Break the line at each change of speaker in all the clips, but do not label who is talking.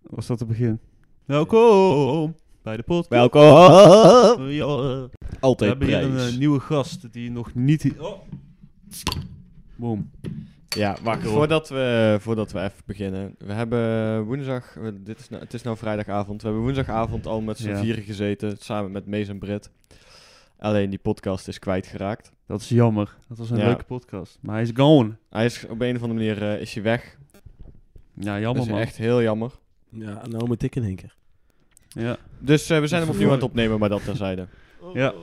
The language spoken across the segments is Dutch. was dat het begin. Welkom bij de podcast.
Welkom.
Ja. We
Altijd
hebben hier een
prijs.
eh, nieuwe gast die nog niet... hi- Oh. Boom.
Ja, wacht.
Joh.
Voordat we, voordat we even beginnen. We hebben woensdag... we- Dit is nou, het is nou vrijdagavond. We hebben woensdagavond al met z'n
Ja.
vieren gezeten. Samen met Mees en Britt. Alleen die podcast is kwijtgeraakt.
Dat is jammer. Dat was een
Ja.
leuke podcast. Maar hij is gone.
Hij is op een of andere manier eh, is hij weg.
Ja,
Dat
jammer
is
man.
echt heel jammer.
Ja, nou moet ik in één keer.
Ja.
Dus eh, we zijn hem opnieuw aan het
verloren.
opnemen, maar dat terzijde.
ja.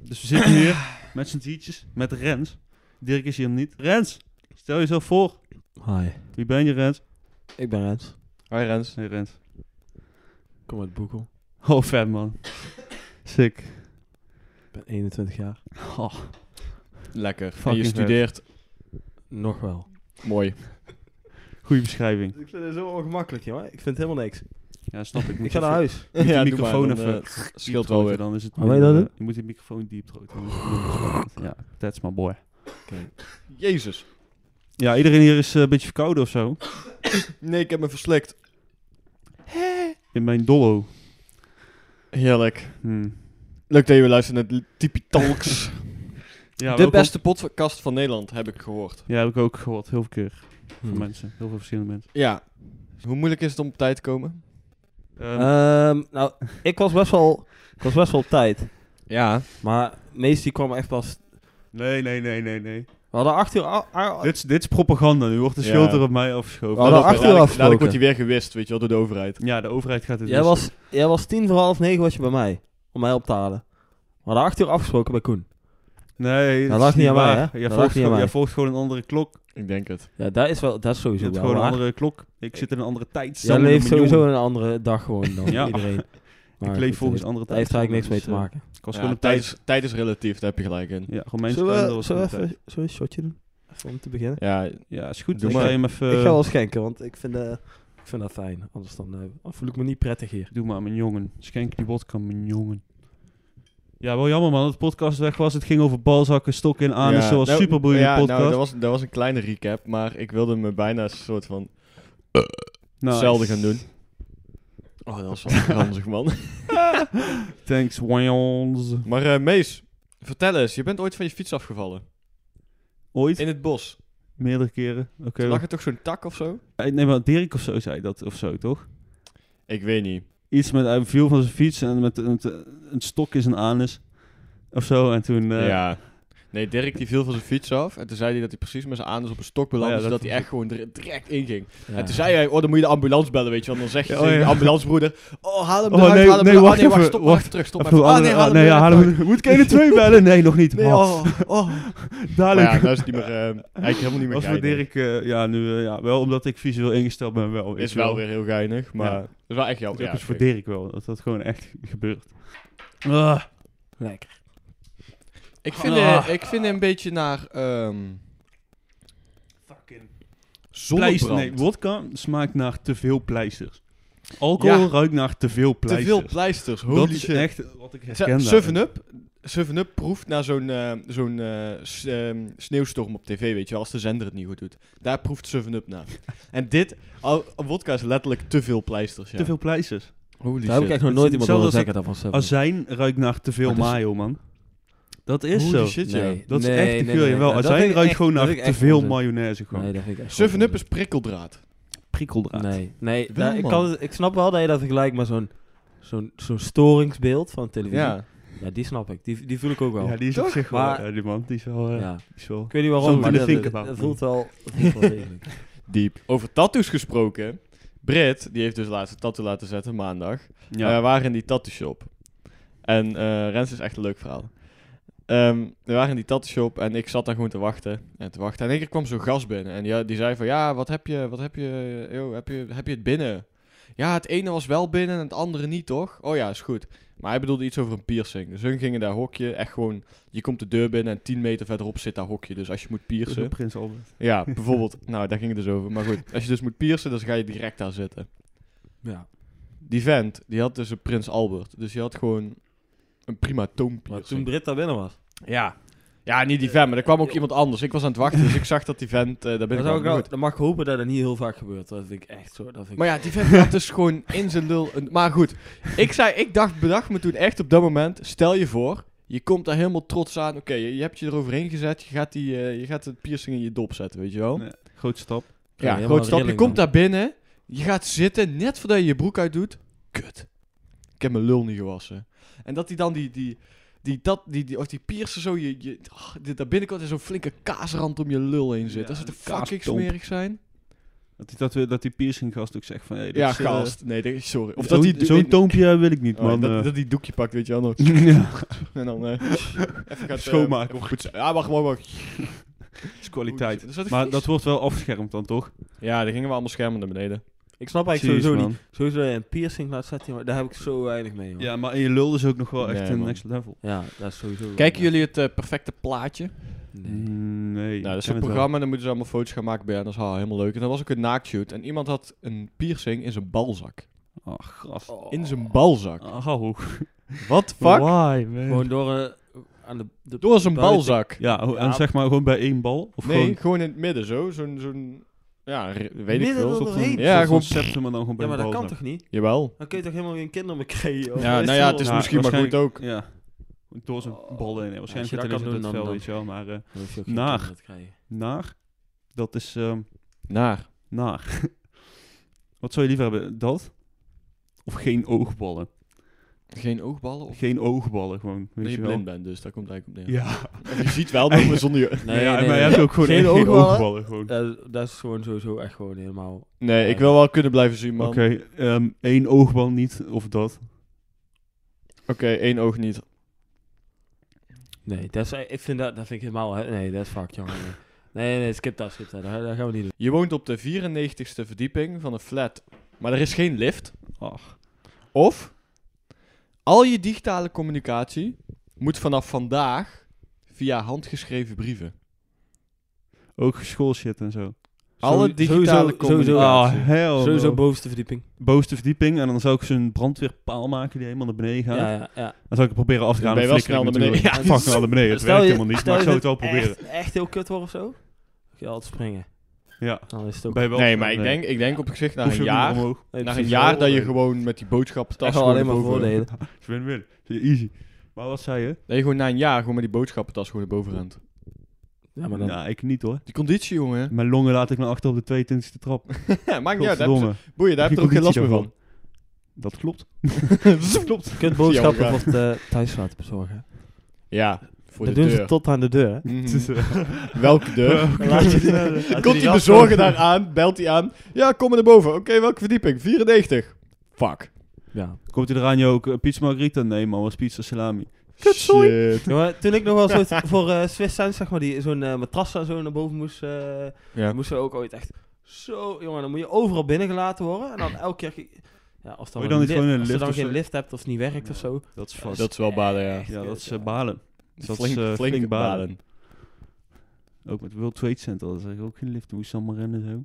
Dus we zitten hier met z'n tientjes, met Rens. Dirk is hier niet. Rens, stel jezelf voor.
Hi,
Wie ben je Rens?
ik ben Rens.
Hoi Rens.
Nee, Rens.
Kom uit Boekel.
Oh, fan man. Sick.
Ik ben 21 jaar.
Oh.
Lekker. En
Fucking
je
vet.
studeert.
Nog wel.
Mooi.
Goeie beschrijving.
Dus Ik vind het zo ongemakkelijk, jongen. Ik vind helemaal niks.
Ja, snap ik. Moet
Ik ga
je
naar huis.
Ja,
de
doe
microfoon
maar, dan,
even
eh, scheelt wel
diepdroten,
weer.
Dan is het
Hoe ben je dat
eh,
doen?
Je moet die microfoon diep droten. dan is het minder spannend. Ja, that's my boy.
Jezus.
Ja, iedereen hier is eh, een beetje verkouden of zo.
Nee, ik heb me verslikt.
In mijn dollo.
Heerlijk.
Hmm.
Leuk dat je weer luistert naar Tipi Talks.
Ja,
de
welkom.
beste podcast van Nederland, heb ik gehoord.
Ja, heb ik ook gehoord. Heel veel keer. Van
Hmm.
mensen. Heel veel verschillende mensen.
Ja. Hoe moeilijk is het om op tijd te komen?
Ehm,
Ehm, nou, ik was best wel, ik was best wel op tijd.
Ja.
Maar Mees die kwam echt pas...
nee, nee, nee, nee, nee.
We hadden 8 uur... a- a-
Dit, is- dit is propaganda. Nu wordt de
Ja.
schuld er op mij afgeschoven.
We hadden acht uur
Nou, Dadelijk
afgesproken.
wordt hij weer gewist, weet je wel, door de overheid.
Ja, de overheid gaat dus- het
jij,
wisten.
was, jij was tien voor half negen was je bij mij. Om mij op te halen. We hadden 8 uur afgesproken bij Koen.
Nee,
Dat lag
is
Nou, niet aan mij,
waar.
hè?
Jij
Dat
volgt,
lag niet aan
gewoon-
mij.
jij volgt gewoon een andere klok.
Ik denk het.
Ja, dat is, wel, dat is
Je
sowieso
zit
wel
gewoon een
waar.
andere klok. Ik zit in een andere tijd.
Jij
samen met
leeft
mijn
sowieso
jongen.
een andere dag gewoon dan
Ja.
iedereen. Maar
Ik leef
goed,
volgens
dat
andere
heeft- dat heeft er eigenlijk niks mee te
dus, eh,
maken.
Ik was
Ja,
gewoon een
tijd,
tijd.
is, tijd is relatief, daar heb je gelijk in.
Ja, gewoon mijn
Zullen
kalender
we,
was
zullen we
gewoon een
even zullen we een shotje doen? Even om te beginnen.
Ja,
tijd. Ja, is goed.
Doe
ik ga
maar.
je hem even...
ik ga wel schenken, want ik vind, eh, ik vind dat fijn. Anders dan, eh, dan voel ik me niet prettig hier.
eh, Doe maar, mijn jongen. Schenk die wodka, mijn jongen. Ja, wel jammer man dat de podcast weg was. Het ging over balzakken, stokken en anus.
Ja,
Zoals
nou,
superboeiende
ja,
podcast.
Nou, dat was, dat was een kleine recap, maar ik wilde me bijna een soort van Eh,
Nou,
hetzelfde gaan doen. Oh, dat was wel ranzig, man.
Thanks, Wayans.
Maar eh, Mees, vertel eens, je bent ooit van je fiets afgevallen.
Ooit,
In het bos.
meerdere keren. Oké. Eh,
Lag er toch zo'n tak of zo?
Nee, maar Dirk of zo zei dat of zo, toch?
Ik weet niet.
Iets met, hij viel van zijn fiets en met een, een stok in zijn anus. Of zo, en toen... eh,
Ja. Nee, Dirk die viel van zijn fiets af. En toen zei hij dat hij precies met zijn anus op een stok belandde.
Oh ja, dat
zodat hij echt gewoon dr- direct inging.
Ja.
En toen zei hij, oh dan moet je de ambulance bellen, weet je wel. Dan zeg je
Ja,
tegen
oh
de
ja.
ambulancebroeder, oh haal hem
Oh,
eruit,
nee,
haal hem
nee,
eruit. Ah,
wacht
nee, wacht,
even,
stop
wacht.
maar even terug, stop
Of
maar even.
hoe
Ah, nee,
andere-
haal
ah,
hem
nee,
eruit.
ja, haal hem- Moet ik 112 bellen? Nee, nog niet.
Nee,
Wat?
oh, oh. Maar
Dadelijk.
ja, nou is het niet meer, eh,
ehm,
eigenlijk helemaal niet meer
Als voor
geinig.
Dirk, eh, ja, nu, eh, ja, wel omdat ik visueel ingesteld ben, wel.
Is
Ik
wel weer heel geinig, maar
Ja.
dat is wel echt jouw...
Het is ook
Ja,
eens voor
oké.
Dirk wel, dat dat gewoon echt gebeurt. Ah,
Lekker.
ik, vind,
Ah.
eh, ik vind hem een beetje naar ehm
fucking pleister.
zonnebrand.
Nee, wodka smaakt naar te veel pleisters. Alcohol
Ja.
ruikt naar te veel
Te
pleisters.
veel pleisters, holy
Dat is
shit.
echt wat ik herken. daarin.
7-Up 7-Up proeft naar zo'n eh, zo'n eh, s- ehm, sneeuwstorm op tv, weet je wel, als de zender het niet goed doet. Daar proeft 7-Up naar. en dit, al, vodka is letterlijk te veel pleisters, ja.
Te veel pleisters.
Holy
Daar heb ik echt nog
Het
nooit
is
iemand horen
hetzelfde
zeggen dat was
Azijn ruikt naar te veel
Maar dat is-
mayo, man. Dat is
Holy
zo.
shit, ja.
Dat is echt te veel. jawel, azijn ruikt gewoon naar te veel mayonaise. Gewoon.
Nee, dat vind ik echt
7-Up
onzin.
is prikkeldraad.
Prikkeldraad.
Nee, nee
Wel,
daar- ik,
man.
kan, het- ik snap wel dat je dat vergelijkt met zo'n zo'n zo'n storingsbeeld van televisie. Ja.
Ja.
die snap ik. Die, die voel ik ook wel.
Ja,
Ja,
die is op zich wel...
Maar-
ja, die man, die is wel... eh, die is wel
Ik weet niet waarom,
Something
maar
to
dat, dat-
think about,
dat
man.
voelt wel, dat voelt wel degelijk.
Diep. Over tattoos gesproken. Britt, die heeft dus laatst een tattoo laten zetten, maandag.
ja.
Eh, we waren in die tattoo shop. En eh, Rens is echt een leuk verhaal. Ehm, we waren in die tattoo shop en ik zat daar gewoon te wachten. En te wachten. En in één keer kwam zo'n gast binnen. En die, die zei van, ja, wat heb je, wat heb je, yo, heb je, heb je het binnen? Ja, het ene was wel binnen en het andere niet, toch? Oh ja, is goed. Maar hij bedoelde iets over een piercing. Dus hun gingen daar hokje, echt gewoon, je komt de deur binnen en 10 meter verderop zit daar hokje. Dus als je moet
Dat is wel
piercen,
Prins Albert.
ja, bijvoorbeeld, nou daar ging het dus over. Maar goed, als je dus moet piercen, dan ga je direct daar zitten
Ja,
die vent, die had dus een Prins Albert. Dus die had gewoon een prima
maar
toompiercing.
toen Britt daar binnen was.
Ja. Ja, niet die vent, maar er kwam ook iemand anders. Ik was aan het wachten, dus ik zag dat die vent... eh daar ben
Dan,
ik
Eh, zou ik
wel
wel, dan mag ik hopen dat dat niet heel vaak gebeurt. Dat vind ik echt zo. Dat vind ik...
Maar ja, die vent had dus gewoon in zijn lul. Een, maar goed, ik, zei, ik dacht, bedacht me toen echt op dat moment. Stel je voor, je komt daar helemaal trots aan. Oké, je, je hebt je eroverheen gezet. Je gaat, die, eh, je gaat het piercing in je dop zetten, weet je wel.
Nee, Groot stap.
Ja,
Ja,
helemaal
groot stap. Je
rilling,
komt
man.
daar binnen. Je gaat zitten. Net voordat je je broek uitdoet. Kut. Ik heb mijn lul niet gewassen. En dat hij dan die... die die, dat, die, die, of die piercen zo, je, je, ah, dit, daar binnenkant is zo'n flinke kaasrand om je lul heen zit.
Ja,
dat zou
een
toch fucking
kaastomp.
smerig zijn?
Dat die, dat, we- dat die piercing gast ook zegt van... Hey, dit
Ja,
is, eh,
gast. Nee, dit- sorry. Of
zo'n-
dat die
Zo'n toompje wil ik niet,
Oh,
man.
dat,
eh.
dat die doekje pakt, weet je wel nog.
ja.
En dan eh, even gaat
Schoonmaken.
Of goed. Ja, wacht, wacht, wacht.
is kwaliteit.
Dus dat is
Maar
vies.
dat wordt wel afgeschermd dan, toch?
Ja, daar gingen we allemaal schermen naar beneden.
Ik snap eigenlijk
Jeez,
sowieso
man.
niet. Sowieso dat je een piercing laat zetten, maar daar heb ik zo weinig mee. man.
Ja, maar in je lul is ook nog wel echt
Nee,
een
man.
next level.
ja, dat is sowieso.
Kijken jullie het eh, perfecte plaatje?
Nee.
Mm, Nee. ik
nou, dat is een
ken het wel.
programma, dan moeten ze allemaal foto's gaan maken bij NSH. Helemaal leuk. En dat was ook een naaktshoot. En iemand had een piercing in zijn balzak.
Oh, gast.
In zijn balzak.
Oh, hou.
Wat fuck?
Why, man?
Gewoon door eh, aan de, de
Door zijn
buiten-
balzak.
Ja, ho- en
Ja.
zeg maar gewoon bij één bal? Of
nee,
gewoon
gewoon... in het midden zo. Zo'n, zo'n, ja, r- weet ik
Midden
veel.
door
soort van-
doorheen.
Ja,
soort
gewoon-
van septum en dan gewoon bij
Ja, maar
de
dat
bal
kan
zo.
toch niet?
Jawel.
Dan kun je toch helemaal geen kinderen meer krijgen? joh?
Ja, nou ja, het is
Ja,
misschien maar goed
waarschijnlijk-
ook.
Ja. Door zijn bal heen. hè.
als je dat
Waarschijnlijk zit er
kan
iets op
doen,
het
dan-
vel,
dan-
weet je wel. Maar eh,
Dan hoef je ook
Naar.
kinderen te krijgen.
naar, dat is... ehm,
Naar.
naar. Wat zou je liever hebben? Dat? Of geen oogballen?
Geen oogballen? Of...
Geen oogballen, gewoon. Weet
Dat je
je wel.
blind bent, dus daar komt het eigenlijk op neer.
Ja.
Je ziet wel, maar zonder je...
Nee,
ja,
nee,
maar je
nee.
hebt ook gewoon
Geen
echt geen
oogballen?
oogballen. gewoon.
Dat, dat is gewoon sowieso echt gewoon helemaal.
Nee, ik wil wel kunnen blijven zien, man.
Oké,
Oké,
ehm, één oogbal niet, of dat.
één oog niet.
Nee, dat is, ik vind dat, dat vind ik helemaal. hè, Nee, dat is fuck, jongen. Nee, nee, nee, skip dat, skip dat. Dat, dat gaan we niet doen.
Je woont op de 94ste verdieping van een flat, maar er is geen lift.
Ach.
Of al je digitale communicatie moet vanaf vandaag via handgeschreven brieven.
Ook schoolshit en zo.
Alle
Sowieso-
digitale
sowieso-
communicatie.
sowieso-
Ah, hell no.
Sowieso bovenste verdieping.
Bovenste verdieping. En dan zou ik zo'n brandweerpaal maken die helemaal naar beneden gaat.
Ja, ja, ja.
Dan zou ik het proberen af te
Dan
gaan.
ben
dan
je wel
flikker ik
snel naar
natuurlijk.
beneden. Ja,
Fuck nou naar beneden. Het
Stel
werkt
je-
helemaal niet,
stel
maar ik
je
zou het wel
dit
proberen.
Echt, echt heel kut wordt of zo? Kun je altijd springen.
Ja.
Dan is het ook.
Ben je wel-
Nee, maar ik denk, ik denk op zich na
Hoef je
een
ook niet
jaar,
omhoog.
Nee,
na een
precies.
jaar dat je
Voordelen.
gewoon met die boodschappentas
Echt wel alleen maar
erboven-
voordelen.
Het is Win-win. Easy. Maar wat zei je?
Dat je gewoon na een jaar gewoon met die boodschappentas gewoon erboven rent.
Ja, maar dan.
Nou, ik niet hoor.
Die conditie, jongen.
Mijn longen laat ik nou achter op de 22e trap.
Ja, maakt niet uit. daar heb je-
Godverdomme.
Boeien, daar heb je er ook geen last meer van.
Dat klopt.
Klopt.
Kut
Ja,
boodschappen
ja.
wordt eh, thuis laten bezorgen.
Ja, voor
dat
de
doen
deur.
ze tot aan de deur.
Dus,
Mhm.
eh,
Welke deur?
Laat je- laat je
Komt
die
die
ras
bezorger
gewoon-
daar aan? Belt hij aan? Ja, kom maar naar boven. Oké, welke verdieping? 94. Fuck.
Ja.
Komt hij eraan, je ook eh, pizza margarita? Nee man, was pizza salami.
Shit.
Ja, maar toen ik nog wel eens ooit voor eh Swiss Sense, zeg maar, die zo'n eh, matras en zo naar boven moest, eh,
Ja.
moesten we ook ooit echt zo, jongen, dan moet je overal binnengelaten worden. En dan elke keer, ja, als, dan
Moet je dan niet
een
gewoon een
als je
lift
dan
of
geen
zo?
lift hebt of het niet werkt of zo.
Dat is
vast.
Dat is wel balen, ja.
Ja, dat is
Ja.
eh, balen. Dat is,
flink,
eh,
flink,
flink balen.
balen.
Ook met World Trade Center, dat is eigenlijk ook geen lift. Moest allemaal rennen zo.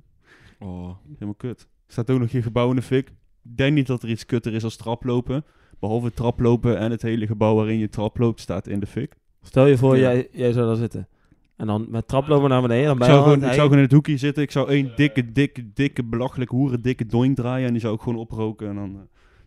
Oh.
Helemaal kut. Staat ook nog geen gebouw in de fik. Ik denk niet dat er iets kutter is als traplopen. Behalve traplopen en het hele gebouw waarin je trap loopt staat in de fik.
Stel je voor,
Ja.
jij, jij zou daar zitten. En dan met traplopen naar beneden, dan
Ik
ben je
zou,
al
gewoon,
aan
ik
het
zou gewoon in het hoekje zitten. Ik zou één dikke, dikke, dikke, belachelijk hoeren, dikke doink draaien. En die zou ik gewoon oproken. En dan eh,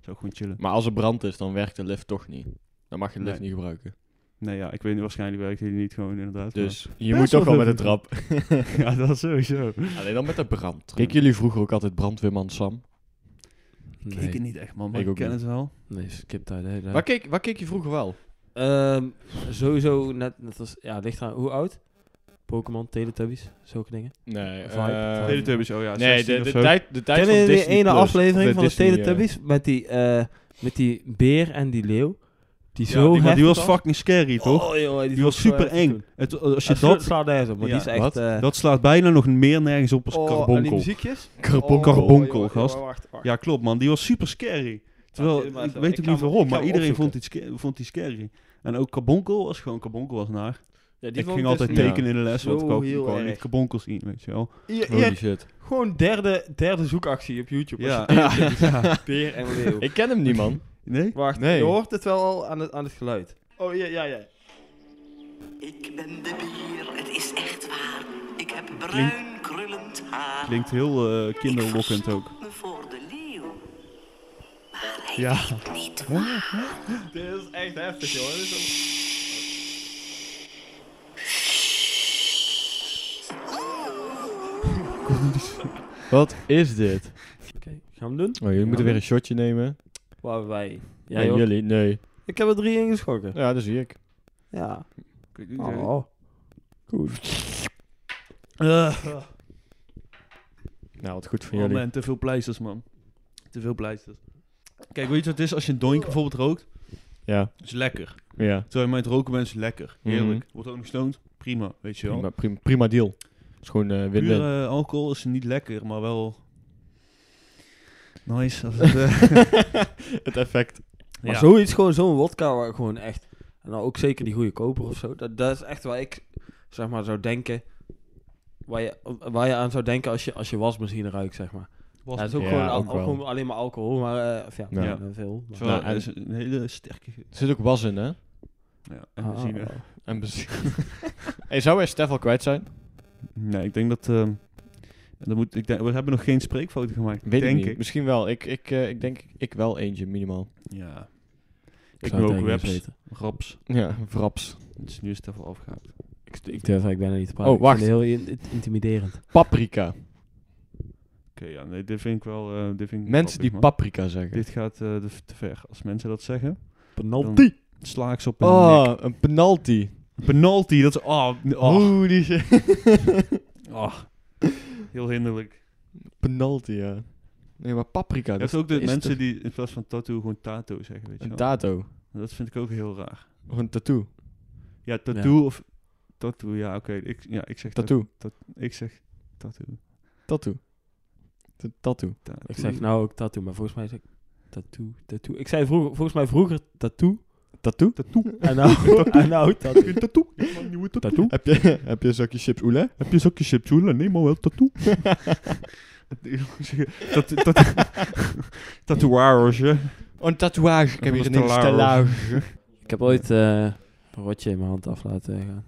zou ik gewoon chillen.
Maar als er brand is, dan werkt de lift toch niet. Dan mag je de lift
Nee.
niet gebruiken.
Nee, ja, ik weet niet. Waarschijnlijk werkt hij niet gewoon inderdaad.
Dus je
Best
moet toch
wel
wel met de
veel
trap.
maar- ja, dat is sowieso.
Alleen dan met de brand. Keken jullie vroeger ook altijd brandweerman Sam?
Nee,
Kijk het niet echt, man. Maar
Ik
ik,
ook
ken
niet.
het wel.
nee, skip daar. nee, daar.
Waar keek, waar keek je vroeger wel?
Ehm, sowieso net, net als, ja, ligt eraan hoe oud? Pokémon, Teletubbies, zulke dingen.
Nee.
Vibe.
eh,
Vibe.
Teletubbies, oh ja.
nee,
16
de,
of
de,
zo.
tijd, de tijd
Kennen
van
jullie die
Disney
ene
Plus,
aflevering van de
Disney, eh,
Teletubbies met die, eh, met die beer en die leeuw? Die
Ja,
zo
die, maar die
heftig
was fucking scary, toch?
Oh, jongen, die,
die was super eng. Het, als je dat,
slaat nergens op, maar
Ja,
die is echt...
wat?
eh,
dat slaat bijna nog meer nergens op als karbonkel.
Oh, muziekjes?
eh,
Oh,
Karbonkel, karbonkel, gast.
wacht, wacht.
Ja, klopt, man. Die was super scary. Terwijl,
helemaal
ik
zo.
weet
Ik
ook
ga
niet
hem-
waarom,
ik ga
maar
hem
iedereen vond die, sca- vond die scary. En ook Kabonkel was gewoon, Kabonkel was naar.
Ja,
Ik
vond
ging
dus
altijd
niet-
tekenen in de les, want ik
Zo
kon- ik
heel
kon
erg.
niet Kabonkel zien, weet je wel.
i- i-
Holy shit.
gewoon derde, derde zoekactie op YouTube. als
Ja.
je
Ja.
Teletubbies- Beer en leeuw.
Ik ken hem niet, man.
Nee?
Wacht,
Nee.
je hoort het wel al aan het, aan het geluid. Oh, ja, ja, ja.
Ik ben de beer, het is echt waar. Ik heb bruin krullend haar.
Klinkt heel eh, kinderlokkend
Ik
ook.
verstop me voor de leeuw. Maar hij
Ja.
weet niet waar.
Dit is echt heftig, joh. Dit is Wat is dit?
gaan we hem doen?
Oh, jullie moeten weer een shotje nemen.
Waar wij?
Ja,
Jij ook?
jullie? Nee.
Ik heb er drie ingeschrokken.
Ja, dat zie ik.
Ja.
Oh.
Nou, wat goed voor
Oh
jullie.
Eh, man, te veel pleisters, man. Te veel pleisters. Kijk, weet je wat het is als je een doink bijvoorbeeld rookt?
Ja,
is lekker.
ja.
Terwijl je met roken bent, is lekker. Heerlijk.
Mhm.
Wordt ook nog stoned? Prima, weet je wel.
Prima, prima, prima deal. Het is gewoon eh, win-win.
Pure eh, alcohol is niet lekker, maar wel... Nice. Als het, eh,
het effect.
Maar
ja.
zoiets, gewoon zo'n wodka waar gewoon echt... en Nou, ook zeker die goede koper of zo. Dat, dat is echt waar ik, zeg maar, zou denken... Waar je, waar je aan zou denken als je, als je wasmachine ruikt, zeg maar.
Was-
Ja, het is ook,
Ja,
gewoon, al-
ook wel.
gewoon alleen maar alcohol, maar... eh, of ja,
Ja.
ja, veel. maar-
Terwijl,
Nou, en-
het is een hele sterke...
Er zit ook was in, hè?
Ja, en benzine.
Ah, ah, ah.
En benzine. hey, zou hij Stef al kwijt zijn?
Nee, ik denk dat... ehm, dat moet, ik denk, we hebben nog geen spreekfoto gemaakt,
Weet
denk
ik niet. Misschien wel. Ik, ik, eh, ik denk ik wel eentje, minimaal.
Ja. Ik,
zou
doe
het eigenlijk
ook webs.
niet weten.
Raps.
Ja, vraps.
Het is nu is het even afgehaakt.
Ik, ik durf eigenlijk bijna niet te praten.
Oh,
Ik vind
wacht.
het heel in- in- intimiderend.
Paprika.
Oké, ja, nee, dit vind ik wel... eh, dit vind ik
Mensen
grappig,
die
man.
paprika zeggen.
Dit gaat eh, de- te ver. Als mensen dat zeggen,
Penalty.
sla ik ze op een
Oh, een penalty.
nek. Penalty, dat is... Oh, n- oh,
Oeh, die shit.
oh. Heel hinderlijk.
penalty, ja. Nee, maar paprika.
Je
Dat
hebt ook de
is
mensen
toch
die in plaats van tattoo gewoon tato zeggen, weet je
Een
wel.
tato.
dat vind ik ook heel raar.
Of een tattoo.
Ja, tattoo of... Tattoo, ja, oké. Ik, ja, ik zeg
Tattoo.
tat- ik zeg tattoo.
Tattoo. T- Tattoo.
tattoo.
Ik zeg nou ook tattoo, maar volgens mij zeg ik tattoo, tattoo. Ik zei vroeger, volgens mij vroeger tattoo.
Tattoo?
Tattoo.
En nou, en nou tattoo.
tattoo. Ik maak een nieuwe tattoo.
Heb je, heb je een zakje chips oele?
Heb je een zakje chips, Jule? Nee, maar wel tattoo. dat, dat, tatoeage.
Een tatoeage. Ik heb hier een hele
Stellage.
stellage.
Ik heb ooit eh, een rotje in mijn hand af laten gaan.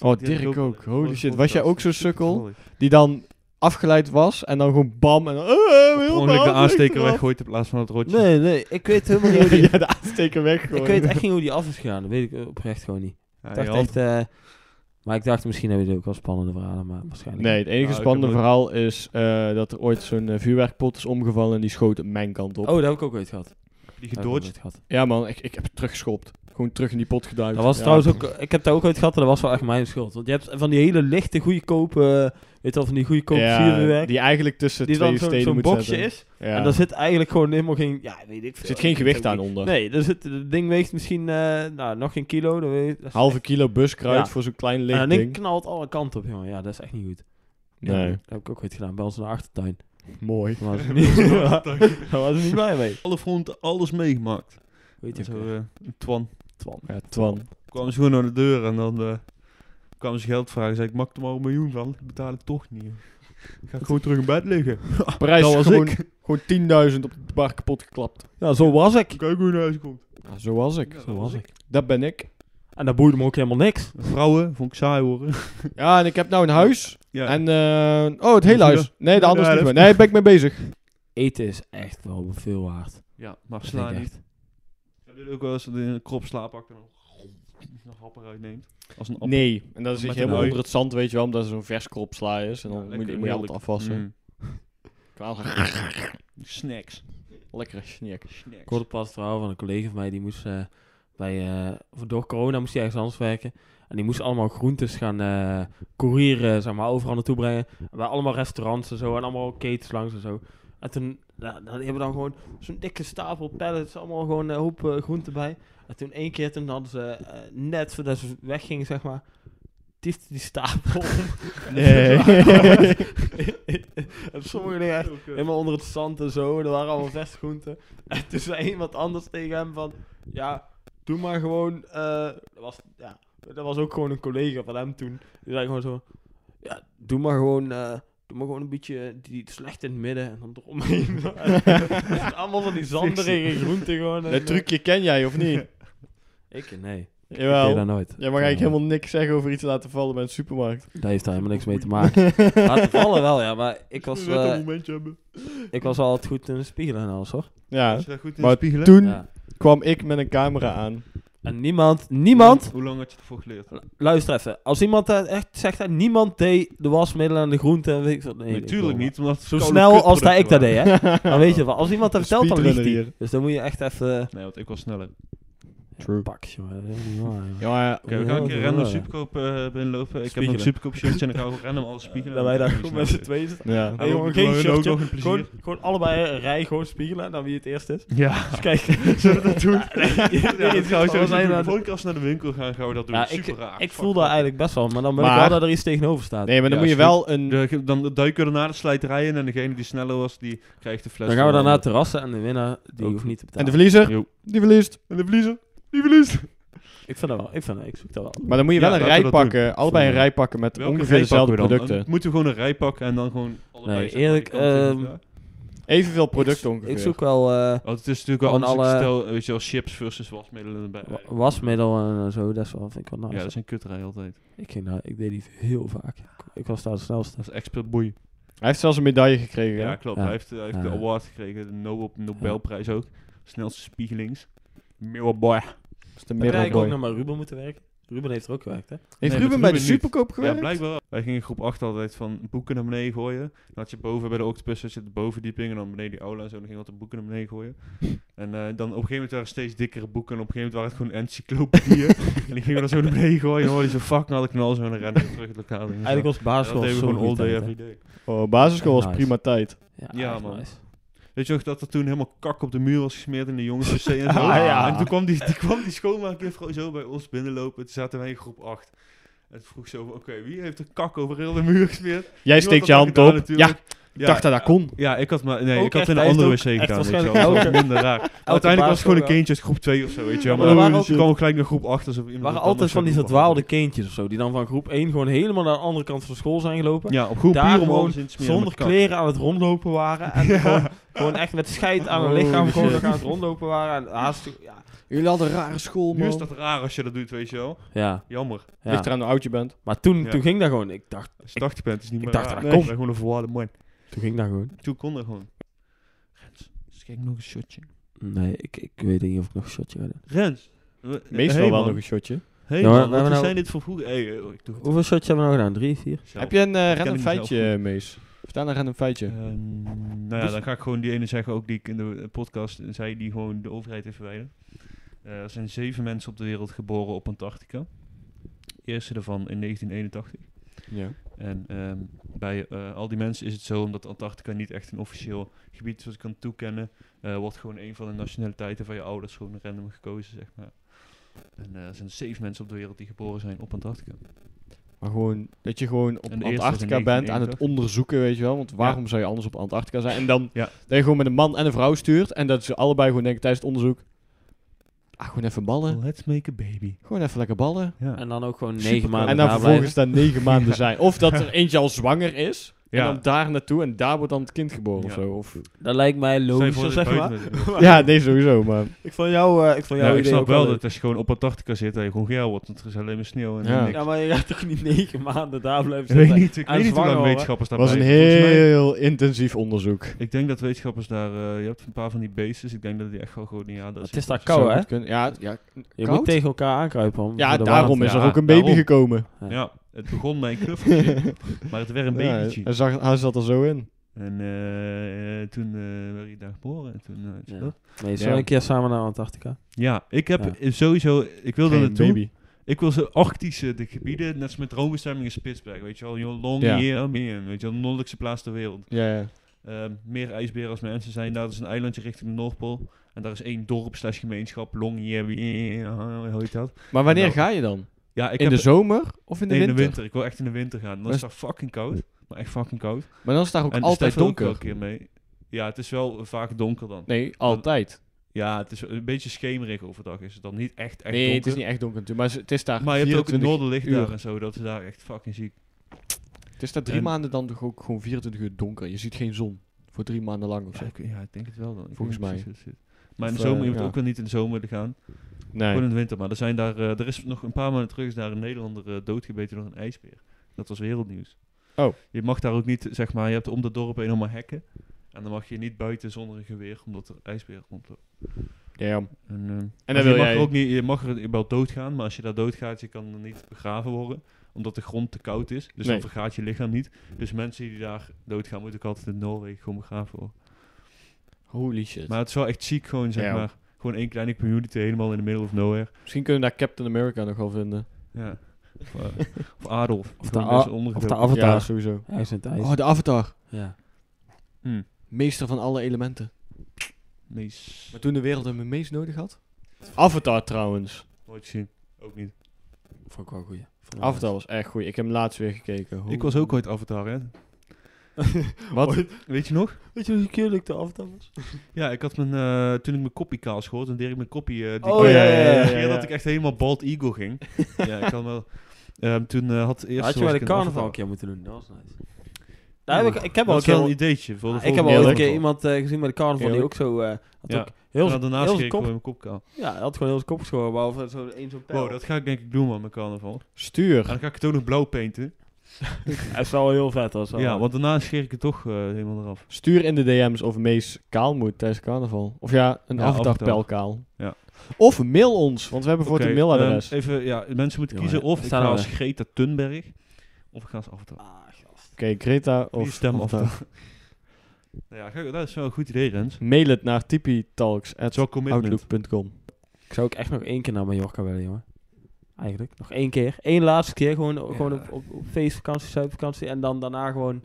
Oh, Dirk ook. Holy shit. Was jij ook zo'n sukkel? Die dan afgeleid was en dan gewoon bam en dan... eh, heel
Ongelukkig de
baan
aansteker
eraf.
weggooit in plaats van het rotje.
Nee, nee, ik weet helemaal niet hoe die...
ja, de aansteker weggooien.
Ik weet echt niet hoe die af is gegaan, dat weet ik oprecht gewoon niet.
Ja,
Ik
je
dacht
hand-
echt, eh, maar ik dacht misschien hebben jullie ook wel spannende verhalen, maar waarschijnlijk
Nee, het enige
Nou, ik
spannende
heb nooit-
verhaal is eh, dat er ooit zo'n eh, vuurwerkpot is omgevallen en die schoot op mijn kant op.
niet. Oh, dat heb ik ook ooit gehad.
die
Dat heb ik ook
gedodged.
ooit gehad.
Ja man, ik, ik heb het teruggeschopt. Gewoon terug in die pot geduikt.
Dat was
Ja.
trouwens ook, ik heb daar ook ooit gehad en dat was wel echt mijn schuld. Want je hebt van die hele lichte, goedkope, eh, weet je wel, van die goedkope
Ja,
vuurwerk.
Die eigenlijk tussen
die
twee
dan zo'n
stenen
zo'n
moet
boxje
zetten.
is.
Ja.
En daar zit eigenlijk gewoon helemaal geen... Ja, weet ik veel.
er zit geen
Ik weet
gewicht
ook
aan
niet.
onder.
Nee, daar zit, het ding weegt misschien eh, nou, nog geen kilo. Dat weet, dat is
Halve
echt-
kilo
Ja.
buskruid voor zo'n
Eh,
klein
En
licht
dat ding
ding.
Eh, knalt alle kanten op, jongen. Ja, dat is echt niet goed. Ja,
Nee,
Dat heb ik ook ooit gedaan, bij ons in de achtertuin.
mooi.
Daar was ik niet, daar was ik niet blij mee.
Alle fronten, alles meegemaakt.
Weet je
En zo,
zo.
eh, Twan.
Twan.
Ja, Twan.
Kwamen ze gewoon naar de deur en dan eh, kwamen ze geld vragen. Zei ik, maak er maar een miljoen van. Ik betaal het toch niet. joh. Ga ik gewoon terug in bed liggen.
Prijs
Ah, dat was
gewoon, gewoon 10.000 op de bar kapot geklapt.
Ja, zo was ik.
Kijk hoe je naar huis komt.
Ja, zo was ik.
Zo was ik.
Dat ben ik.
En dat boeide me ook helemaal niks.
Vrouwen, vond ik saai horen.
Ja, en ik heb nou een huis.
Ja.
En, eh, oh, het hele
Ja.
huis. Nee, de
Ja,
anders
dat
niet meer.
is-
Nee, ben ik mee bezig.
Eten is echt wel veel waard.
Ja, maar
Dat
sla
denk ik
niet. Heb je ook wel eens dat je een krop slaappakt en dan een hap eruit neemt? Als een appel.
Nee, en dan zit je
Met
helemaal
een ui.
onder het zand, weet je wel, omdat er zo'n vers krop sla is. En dan moet je, moet je altijd afwassen.
Mm.
Klaar.
Snacks.
Lekkere snack.
Snacks.
Ik hoorde pas het verhaal van een collega van mij, die moest eh, bij, eh, voor- door corona moest hij ergens anders werken. En die moest allemaal groentes gaan eh courieren, zeg maar, overal naartoe brengen. Bij allemaal restaurants en zo, en allemaal ketens langs en zo. En toen, ja, dan hebben we dan gewoon zo'n dikke stapel pallets, allemaal gewoon een hoop eh, groenten bij. En toen één keer, toen hadden ze eh, net voordat ze weggingen, zeg maar, tiefde die stapel om.
Nee.
en sommige dingen
eh,
echt Helemaal onder het zand en zo. En er waren allemaal zes groenten. En toen zei iemand anders tegen hem van... Ja, doe maar gewoon... eh, dat, was, ja, dat was ook gewoon een collega van hem toen. Die zei gewoon zo... Ja, doe maar gewoon... eh, doe maar gewoon een beetje die slecht in het midden. En dan eromheen. allemaal van die zanderige groenten gewoon. en,
Dat
eh,
trucje ken jij, of niet?
Ik? eh, Nee. Dat deed
Jawel.
dat nooit. Eh,
Jij mag eigenlijk helemaal niks zeggen over iets laten vallen bij een supermarkt.
Daar heeft daar helemaal niks mee te maken. Laten vallen wel, ja, maar ik was,
Net
eh,
een momentje hebben.
ik was wel altijd goed in de spiegel en alles hoor.
Ja,
Als je daar goed in
maar
spiegelen.
toen
Ja.
kwam ik met een camera aan.
En niemand, niemand,
Hoe lang had je ervoor geleerd?
luister even. Als iemand dat echt zegt, hè, niemand deed de wasmiddelen en de groenten en weet ik wat. Nee, ik
Natuurlijk
wil-
niet, omdat het
Zo
koude
snel als dat
kutproducten
ik dat deed,
waren.
hè. Dan weet je wel, als iemand dat
De
vertelt, dan liegt
speedrunner
hij. Dus dan moet je echt even...
Nee, want ik was sneller.
True.
Pak, jongen. Dat is niet waar, jongen.
Ja, maar ja.
Oké, we gaan een keer random superkoop eh, binnenlopen. Ik heb
Oh, Spiegelen.
een superkoop shirtje en ik ga gewoon random alles spiegelen.
Dat wij daar
En
gewoon met z'n tweeën staan.
ja.
Hey, jongen,
ook-
geen
ook
shirtje.
nog een plezier.
Gewoon, gewoon allebei een rij gewoon spiegelen en dan wie het eerst is.
Ja.
Dus kijk.
Zullen we dat doen?
Ja,
Ja, dat gaan we
we
sowieso
zijn
doen.
aan-
De volgende keer als we naar de winkel gaan, gaan we dat doen.
Ja,
Super
ik, ik
raar. Fuck,
voel daar
fuck.
eigenlijk best wel, maar dan ben ik
Maar-
wel dat er iets tegenover staat.
Nee, maar dan
Ja,
moet je
is
wel een...
De- dan duiken we daarna de slijterij in en degene die sneller was, die krijgt de fles.
dan gaan we
van-
daarna terrassen en de winnaar, die
Ook.
hoeft niet te
En
betalen.
de verliezer,
Jo.
die verliest.
En de verliezer, die verliest.
ik vind dat wel, ik, vind dat, ik zoek dat wel.
Maar dan moet je
Ja,
wel een
laten we
rij
dat doen.
pakken. Allebei een
Voor-
rij pakken met
Welke
ongeveer
rij pakken
dezelfde
we dan?
producten.
Dan moeten we gewoon een rij pakken en dan gewoon allebei...
Nee,
zeg maar,
eerlijk,
die kant in.
ehm,
Ja.
Evenveel producten
ik, ik
ongeveer.
zoek wel eh,
Want het is natuurlijk wel
Gewoon
anders. Ik
alle-
stel, weet je wel, chips versus wasmiddelen erbij.
wa- wasmiddel en eh, zo, dat is wel, vind ik wel nice.
Ja, dat is een kutrij altijd.
ik, ging daar- ik deed die heel vaak. Ik, ik was daar de snelste.
Dat is expert boei.
Hij heeft zelfs een medaille gekregen.
Ja,
hè?
klopt.
Ja.
Hij heeft, hij heeft de
Ja.
award gekregen. De Nobel, Nobelprijs ook. Snelste spiegelings. Mirror boy.
Dat is de
Heb jij eigenlijk ook
middelboy.
nog maar Ruben moeten werken? Ruben heeft er ook gewerkt, hè?
Heeft
Nee,
Ruben
met
bij de
Ruben niet.
superkoop
Ja,
gewerkt?
blijkbaar wel. Wij gingen in groep 8 altijd van boeken naar beneden gooien. Dan had je boven bij de octopus, had je de bovendieping en dan beneden die aula en zo. Dan ging je altijd boeken naar beneden gooien. En eh, dan op een gegeven moment waren het steeds dikkere boeken en op een gegeven moment waren het gewoon encyclopedieën. en die gingen we dan zo naar beneden gooien en dan hoorde je zo fuck, nou had ik knal zo en dan rennen we terug het lokaal. in. Zo.
Eigenlijk was
En dat
basisschool
deden we
zo
gewoon all
goed
day
tijd, hè?
every day.
Oh, basisschool was
Nice.
prima tijd.
Ja,
Ja,
echt
man.
nice.
Weet je nog dat er toen helemaal kak op de muur was gesmeerd in de jongens wc en zo?
Ah, ja.
En toen kwam die, die, kwam die schoonmaakjuffrouw zo bij ons binnenlopen. Toen zaten wij in groep 8. En toen vroeg ze over, oké, wie heeft er kak over heel de muur gesmeerd?
Jij
Niemand
steekt je
had
hand
dat
op.
gedaan
Ja,
natuurlijk.
ik dacht dat dat kon.
Ja, ik had maar. Nee,
Ook
ik had
echt,
in een
hij
andere wc
heeft ook echt
gedaan. Weet je wel.
waarschijnlijk
Dat was
elke-
minder raar. Uiteindelijk was het gewoon
basisschool
een kindje uit groep 2 of zo, weet je wel.
Maar
Maar
er waren
dan kwam
altijd-
gewoon gelijk naar groep 8. Alsof iemand
Er waren
het anders
altijd van die
zou doen.
verdwaalde kindjes of zo, die dan van groep 1 gewoon helemaal naar de andere kant van school zijn gelopen.
Ja, op groep
Daar
4 om
gewoon
alles in te smeren
Zonder
met kak.
kleren aan het rondlopen waren. En gewoon, gewoon echt met scheid aan hun
Oh,
lichaam gewoon
shit.
nog aan het rondlopen waren. En haast, ja.
Jullie hadden een rare school,
Nu is dat raar als je dat doet, weet je wel.
Ja,
Jammer.
ja.
Ligt eraan hoe oud je bent.
Maar toen,
Ja.
toen ging dat gewoon. Ik dacht,
Als je 80 bent, is het niet
ik
meer
dacht ah,
raar.
dat
Nee,
kon.
ik ben gewoon een volwaarde man.
toen ging dat gewoon.
Toen kon dat gewoon. Rens,
Dus
schenk nog een shotje.
Nee, ik, ik weet niet of ik nog een shotje had.
Rens. we-
Meestal
hey,
wel
man.
nog een shotje.
Hey
Ja, maar
man,
we hebben
wat is
nou-
zijn dit voor vroeger? Hey, eh, ik doe het.
Hoeveel shotjes hebben we nou gedaan? Drie, vier?
zelf.
Heb je een eh, random
hem zelf
feitje, Mees? Vertel een random feitje.
Ehm, nou ja, dan ga ik gewoon die ene zeggen ook die ik in de eh, podcast zei, die gewoon de overheid heeft verwijderd. Eh, er zijn zeven mensen op de wereld geboren op Antarctica. De eerste daarvan in 1981.
Ja.
En ehm, bij eh, al die mensen is het zo, omdat Antarctica niet echt een officieel gebied is wat je kan toekennen, eh, wordt gewoon een van de nationaliteiten van je ouders gewoon random gekozen, zeg maar. En eh, er zijn zeven mensen op de wereld die geboren zijn op Antarctica.
Maar gewoon, dat je gewoon op
En de eerste is in
Antarctica bent aan het
1981.
onderzoeken, weet je wel. Want waarom zou je anders op Antarctica zijn? En dan
Ja.
dat je gewoon met een man en een vrouw stuurt. En dat ze allebei gewoon denken tijdens het onderzoek. Ah, gewoon even ballen.
Let's make a baby.
Gewoon even lekker ballen.
Ja.
En dan ook gewoon
Super
negen
cool.
maanden
En dan
daar
vervolgens
blijven.
daar negen maanden zijn. Of dat er eentje al zwanger is.
Ja.
En dan daar naartoe. En daar wordt dan het kind geboren of
Ja.
zo. Of...
Dat lijkt mij
Stel je
logischer,
voor dat
zeg
je
maar.
buiten bent.
Ja, nee, sowieso. Maar
Ik vond jou, eh ik vond
Ja,
jou
Nou, ik snap wel
dat.
dat als je gewoon op Antarctica zit, dat je gewoon geil wordt. Want er is alleen maar sneeuw en
Ja.
niks.
Ja, maar je gaat toch niet negen maanden daar blijven
ik weet
zitten?
niet, ik
en
weet niet hoe
zwanger
lang
hoor.
wetenschappers daar
was een
blijven. Volgens mij-
heel intensief onderzoek.
Ik denk dat wetenschappers daar... eh, je hebt een paar van die beestjes. Ik denk dat die echt wel gewoon niet aan dat
Het
zitten.
is daar
Zou
koud, hè?
goed kunnen. Ja, ja,
Je
Koud?
moet tegen elkaar aankruipen. om-
ja
voor de
daarom
warmte.
is er
Ja,
ook een baby
daarom.
gekomen.
Ja, het begon bij een knuffeltje, maar het werd een
Ja,
babytje.
hij, zag, hij zat er zo in.
En eh, eh, toen eh werd hij daar geboren. En toen, eh, is
Ja.
dat.
Nee, zullen we
Ja.
een keer samen naar Antarctica?
ja, ik heb
Ja.
eh, sowieso... Ik wilde
Geen
naartoe.
baby.
Ik wil zo arctische de gebieden, net als met droombestemming in Spitsbergen. Weet je wel, joh,
Ja.
Longyearbyen, weet je wel, de noordelijkste plaats ter wereld.
Ja, ja.
Ehm, meer ijsberen als mensen zijn. Daar is een eilandje richting de Noordpool. En daar is één dorp slash gemeenschap. Longyearbyen, eh, hoe heet dat?
Maar wanneer
Nou,
ga je dan?
Ja, ik
in
heb
de zomer of in de,
nee,
winter?
Ik wil echt in de winter gaan. Dan
Maar
is
is-
daar fucking koud. Maar echt fucking koud.
Maar dan is daar ook
en de
altijd
Stefan ook
donker.
wel een keer mee. Ja, het is wel eh, vaak donker dan.
Nee, altijd.
Ja, het is een beetje schemerig overdag. Is het dan niet echt, echt
nee,
donker.
het is niet echt donker natuurlijk, maar ze- het is daar
maar je hebt ook het
24
noorderlicht
uur.
daar en zo. Dat is daar echt fucking ziek.
Het is daar drie
En-
maanden dan toch ook gewoon 24 uur donker. Je ziet geen zon voor drie maanden lang of
Ja,
zo.
ik, ja, ik denk het wel dan. Ik
Volgens
weet
mij.
niet precies hoe het zit. Maar in de
Of, eh,
zomer, je moet
ja.
ook wel niet in de zomer te gaan. Gewoon
Nee.
in de winter. Maar er, zijn daar, eh, er is nog een paar maanden terug is daar een Nederlander eh, doodgebeten door een ijsbeer. Dat was wereldnieuws.
Oh.
Je mag daar ook niet, zeg maar, je hebt om de dorpen helemaal hekken. En dan mag je niet buiten zonder een geweer, omdat er ijsbeer rondloopt.
Damn.
En, eh,
dan
dus
wil
je mag
jij-
er ook niet, je mag er wel doodgaan, maar als je daar doodgaat, je kan er niet begraven worden omdat de grond te koud is. Dus
Nee.
dan vergaat je lichaam niet. Dus mensen die daar doodgaan, moeten ook altijd in Noorwegen gewoon begraven worden.
Holy shit.
Maar het is wel echt chic, gewoon zeg
Ja.
maar. Gewoon één kleine community helemaal in the middle of nowhere.
Misschien kunnen we daar Captain America nog wel vinden.
Ja. Of, eh, of Adolf.
Of de,
Gewoon
a-
best
of de
ondergedoken.
avatar.
Ja, sowieso.
Hij is in het ijs.
Oh, de Avatar.
ja.
Hm.
Meester van alle elementen.
Nice.
Maar toen de wereld hem het meest nodig had? Avatar trouwens.
Nooit gezien. Ook niet.
Vond ik wel goed.
Avatar was echt goed. Ik heb hem laatst weer gekeken. Holy-
Ik was ook ooit Avatar, hè?
Wat?
Weet je nog?
Weet je hoe keer dat ik de Avatar was?
Ja, ik had mijn... eh, toen ik mijn koppie kaal schoot, toen deed ik mijn koppie... eh, die
Oh, ja, ja, ja,
De
ja,
keer
ja.
dat ik echt helemaal bald eagle ging. ja, ik kan wel... Ehm, toen eh, had eerst...
had je
was
bij
ik
de
een
carnaval
Avatar.
een keer moeten doen. Dat was nice. Daar heb ik, ik heb
Dat
al een
is wel een
keer...
ideetje. Voor de
Ik heb
volgende
al een
Eerlijk.
carnaval.
keer iemand eh, gezien bij de carnaval die
Eerlijk.
ook zo... eh, had
Ja.
ook heel
En
zijn-
daarnaast
heel
kreeg
zijn
ik gewoon
kop...
mijn kopkaal.
Ja, hij had gewoon heel zijn kop geschoren. Behalve zo één zo'n pijl.
Wow, dat ga ik denk ik doen, man, mijn carnaval. En
Stuur.
dan ga ik het ook nog blauw painten.
Hij is wel heel vet. Dat is wel-
Ja, want daarna scheer ik het toch eh, helemaal eraf.
Stuur in de DM's of Mees kaal moet tijdens carnaval. Of ja, een
Ja,
Avatar
Avatar.
pelkaal.
Ja.
Of mail ons, want we hebben voor het
Oké,
een mailadres.
ehm, even, ja, mensen
Jongen,
moeten kiezen of
we
ik
staan
ga
er.
als Greta Thunberg, of ik ga als Avatar.
Ah, gast.
Oké, Greta of
Die stem
Avatar.
Avatar. Nou ja, ga- dat is wel een goed idee, Rens. Het
Mail het naar
is wel commitment.
tipitalks.outlook.com.
Ik zou ook echt nog één keer naar Mallorca willen, jongen. Eigenlijk. Nog één keer. Eén laatste keer. Gewoon, gewoon op, op, op feestvakantie, zuidvakantie. En dan daarna gewoon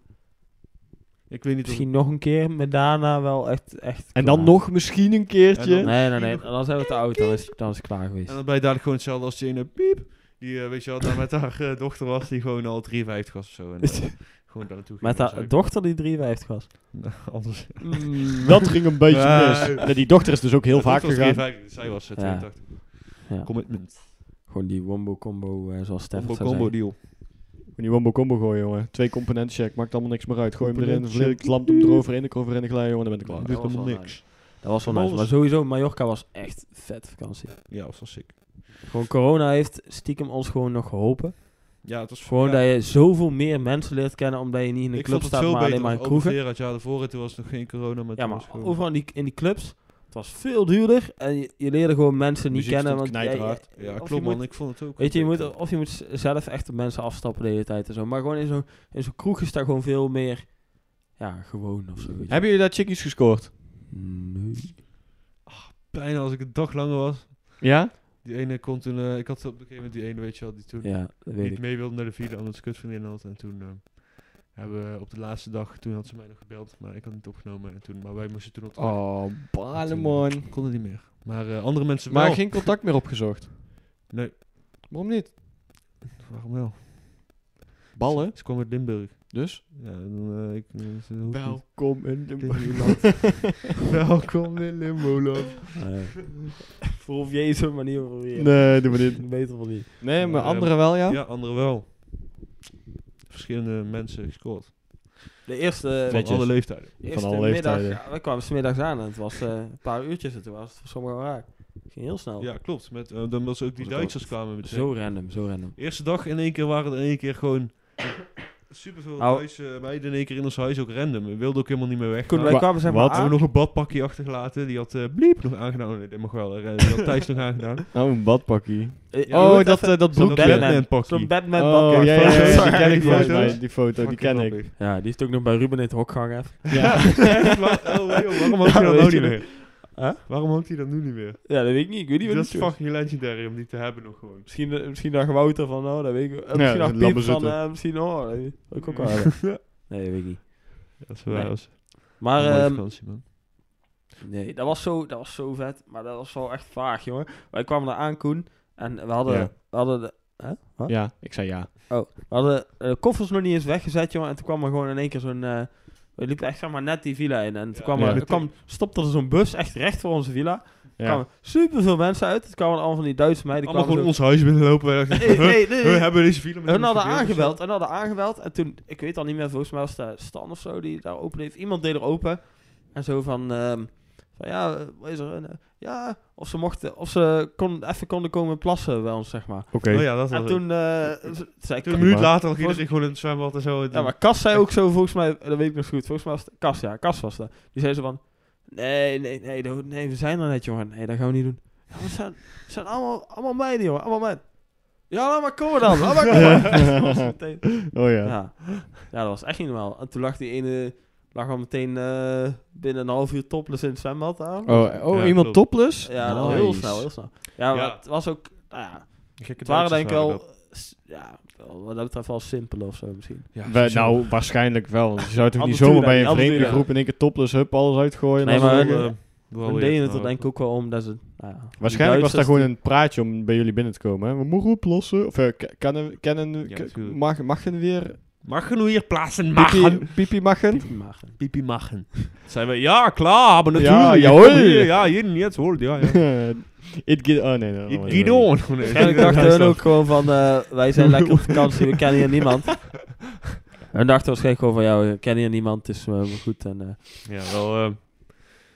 Ik weet niet of...
misschien nog een keer. Maar daarna wel echt... echt
En dan
klaar.
nog misschien een keertje.
En dan-
Nee, nee, nee. Dan zijn we te oud. Dan is, dan is het klaar
En
geweest.
dan ben je dadelijk gewoon hetzelfde als die ene piep, die, eh, weet je wel, daar met haar eh, dochter was, die gewoon al 53 was of zo. En, eh, gewoon daar naartoe ging.
Met
Dat
haar
zou ik-
dochter die 53 was.
Anders.
Dat ging een beetje
Eh.
mis. Nee, die dochter is dus ook heel
Mijn
vaak
dochter was
gegaan.
53, dus zij was eh,
Ja.
82.
Ja.
Commitment.
Gewoon die wombo combo eh, zoals Stef
Combo,
het zou
combo
zeggen.
deal.
Moet die wombo combo gooien, jongen. Twee componenten check, maakt allemaal niks meer uit. Gooi hem erin,
Component
verleer ik
check.
het lamp hem erover, in de cover en ik glij, jongen, dan ben ik klaar.
Doet
was
helemaal
wel
niks.
Dat was wel nice.
Alles.
Maar sowieso, Mallorca was echt vet vakantie.
Ja, dat was wel sick.
Gewoon corona heeft stiekem ons gewoon nog geholpen.
Ja, het was
Gewoon
ja.
dat je zoveel meer mensen leert kennen omdat je niet in een
Ik
club
vond het
staat,
veel
maar
beter
alleen maar in kroegen.
Het jaar daarvoor, en toen was het nog geen corona, maar
Ja, maar
toen was het gewoon-
overal in die, in die clubs, het was veel duurder en je, je leerde gewoon mensen niet
Muziek
kennen.
stond
Want jij-
knijterhard.
jij-
Ja,
of je
klopt man,
moet-
ik vond het ook.
Weet je, je
wel
moet,
beter.
of je moet z- zelf echt op mensen afstappen de hele tijd en zo. Maar gewoon in zo'n in zo'n kroeg is daar gewoon veel meer, ja, gewoon of zo. weet je.
Hebben jullie daar chickies gescoord?
Nee.
Bijna als ik een dag langer was.
Ja?
Die ene kon toen, eh, ik had op een gegeven moment die ene, weet je wel, die toen
Ja, dat weet
niet
ik.
mee wilde naar de vierde, omdat ze kutvriendin had. En toen eh, hebben we op de laatste dag, toen had ze mij nog gebeld, maar ik had niet opgenomen. En toen, maar wij moesten toen op de
Oh,
toen,
balemon.
eh, konden niet meer. Maar eh, andere mensen wel.
Maar geen contact meer opgezocht.
Nee,
Waarom niet?
waarom wel?
Ballen,
Ze kwam uit Limburg.
dus.
Ja, dan, eh, ik, eh, ze hoeft niet.
Welkom in
Limburgland. Welkom in Limburg.
eh, Voor op deze manier proberen.
Nee, doe maar niet.
Beter van niet.
Nee, maar
Maar, eh,
anderen wel, ja?
Ja, andere wel. Verschillende mensen gescoord.
De eerste,
Van
Vetjes.
alle leeftijden.
de eerste
van alle
middag,
leeftijden.
ja, we kwamen smiddags aan en het was eh, een paar uurtjes en toen was het voor sommigen al raak. Het ging heel snel.
Ja, klopt. Met, eh, dan was ook die
Was ook
Duitsers kwamen met
Zo random, zo random.
Eerste dag in één keer waren er in één keer gewoon superveel
Nou-
Duitse meiden in één keer in ons huis ook random. We wilden ook helemaal niet meer weg.
Toen
Nou,
wij
wa-
kwamen zeg
wat?
maar
we hebben
aan,
nog een badpakje achtergelaten. Die had eh Bliep nog aangedaan. Nee, dat mag wel. eh, Die had Thijs nog aangedaan.
Oh, een badpakkie.
eh,
Ja,
je
oh,
moet
dat,
even-
eh, dat
Zo'n
broekje.
Batman.
Oh,
pakkie.
Zo'n Batman
ja,
bakkie.
ja, ja,
Foto's.
die ken
Die
ik volgens
foto's.
mij. Die foto, die ken ik.
Ja, die is ook nog bij Ruben in het hok gehangen. even.
Ja.
Echt waar? Oh, joh, waarom hangt hij dat
weet
nou
je
niet meer?
Huh?
Waarom hangt hij dat nu niet meer?
Ja, dat weet ik niet. Ik weet niet wat
Dat is
die doet.
fucking legendary om die te hebben nog gewoon.
Misschien, eh, misschien dacht Wouter van, oh, dat weet ik eh,
Ja,
Misschien
laat
dacht
maar
Piet van,
zitten.
eh, misschien, oh, dat weet ik ook wel. Nee, dat weet ik niet.
Dat is
Nee.
waar. was
Maar,
een mooie
ehm,
vakantie, man.
Nee, dat was, zo, dat was zo vet, maar dat was wel echt vaag, jongen. Wij kwamen daar aan, Koen, en we hadden,
Ja.
we hadden, de, hè? Wat?
Ja, ik zei ja.
we hadden eh, de koffers nog niet eens weggezet, jongen. En toen kwam er gewoon in één keer zo'n... eh, we liepen echt zeg maar, net die villa in. En toen
Ja.
kwam,
Ja.
er, er kwam, stopte er zo'n bus echt recht voor onze villa. Er
Ja.
kwamen superveel mensen uit. Het kwamen allemaal van die Duitse meiden.
Allemaal gewoon
kwamen
ons huis binnenlopen. Wij
zo-
dachten,
Nee,
huh?
nee, nee.
Huh, hebben we deze film
Hun hadden aangebeld, hun hadden aangebeld. En toen, ik weet al niet meer, volgens mij was het eh, Stan of zo die daar open heeft. Iemand deed er open. En zo van, ehm, Van ja, eh, wat is er? En, eh, ja, of ze, mochten, of ze kon, even konden komen plassen bij ons, zeg maar.
Oké.
Oh ja, dat was
En
het.
toen eh, ze- zei
Toen
Ka-
een minuut
maar-
later al ging
Volgens-
ik gewoon in het zwembad en zo.
Ja, maar Kas zei ook zo, volgens mij, dat weet ik nog zo goed. Volgens mij was het Kas, ja, Kas was dat. Die zei zo van, nee, nee, nee, dat- nee, we zijn er net, jongen. Nee, dat gaan we niet doen. Ja, maar het zijn, het zijn allemaal, allemaal meiden, jongen, allemaal meiden. Ja, laat maar komen dan, laat maar komen. Dat was meteen-
Oh ja.
ja. ja, dat was echt niet normaal. En toen lag die ene, lag al meteen eh, binnen een half uur topless in het zwembad aan.
Oh, oh
Ja,
iemand
klopt.
topless?
Ja, dat was
Nice.
heel snel, heel snel. Ja, maar
Ja.
het was ook, nou ja,
Gekke
het waren denk ik
Duitsers
wel,
dat.
eh, s- ja, wel- wat dat betreft wel simpel of zo misschien.
We- nou, waarschijnlijk wel. want Je zou toch
Af en
niet
toe
zomaar
dan,
bij een
af en toe
vreemde
dan.
groep in één keer topless hup alles uitgooien.
Nee,
en dan
maar-
zeggen-
Wel, eh, wel
We
weird,
deden het er
maar-
denk ik ook wel om dat ze... Nou ja, die
waarschijnlijk was
Duitsers
daar gewoon een praatje om bij jullie binnen te komen. Hè? We mogen oplossen. Of eh, k- kennen, kennen,
Ja,
k-
natuurlijk.
mag, mag je weer?
Mag je nu hier plaatsen?
Pipi, pipi
die-
magen?
die magen.
Pipi machen. Zijn we, ja, klaar, maar
Ja,
natuurlijk.
jawohl.
Hier, Ja, hier, jetzt hoor, ja, ja.
It get, oh nee, nee.
It geht on.
En ik dacht hun ook gewoon van, eh, wij zijn lekker op vakantie, we kennen hier niemand. Hun dachten waarschijnlijk gewoon van, ja, we kennen hier niemand, het is eh, maar goed. En, eh,
Ja, wel eh,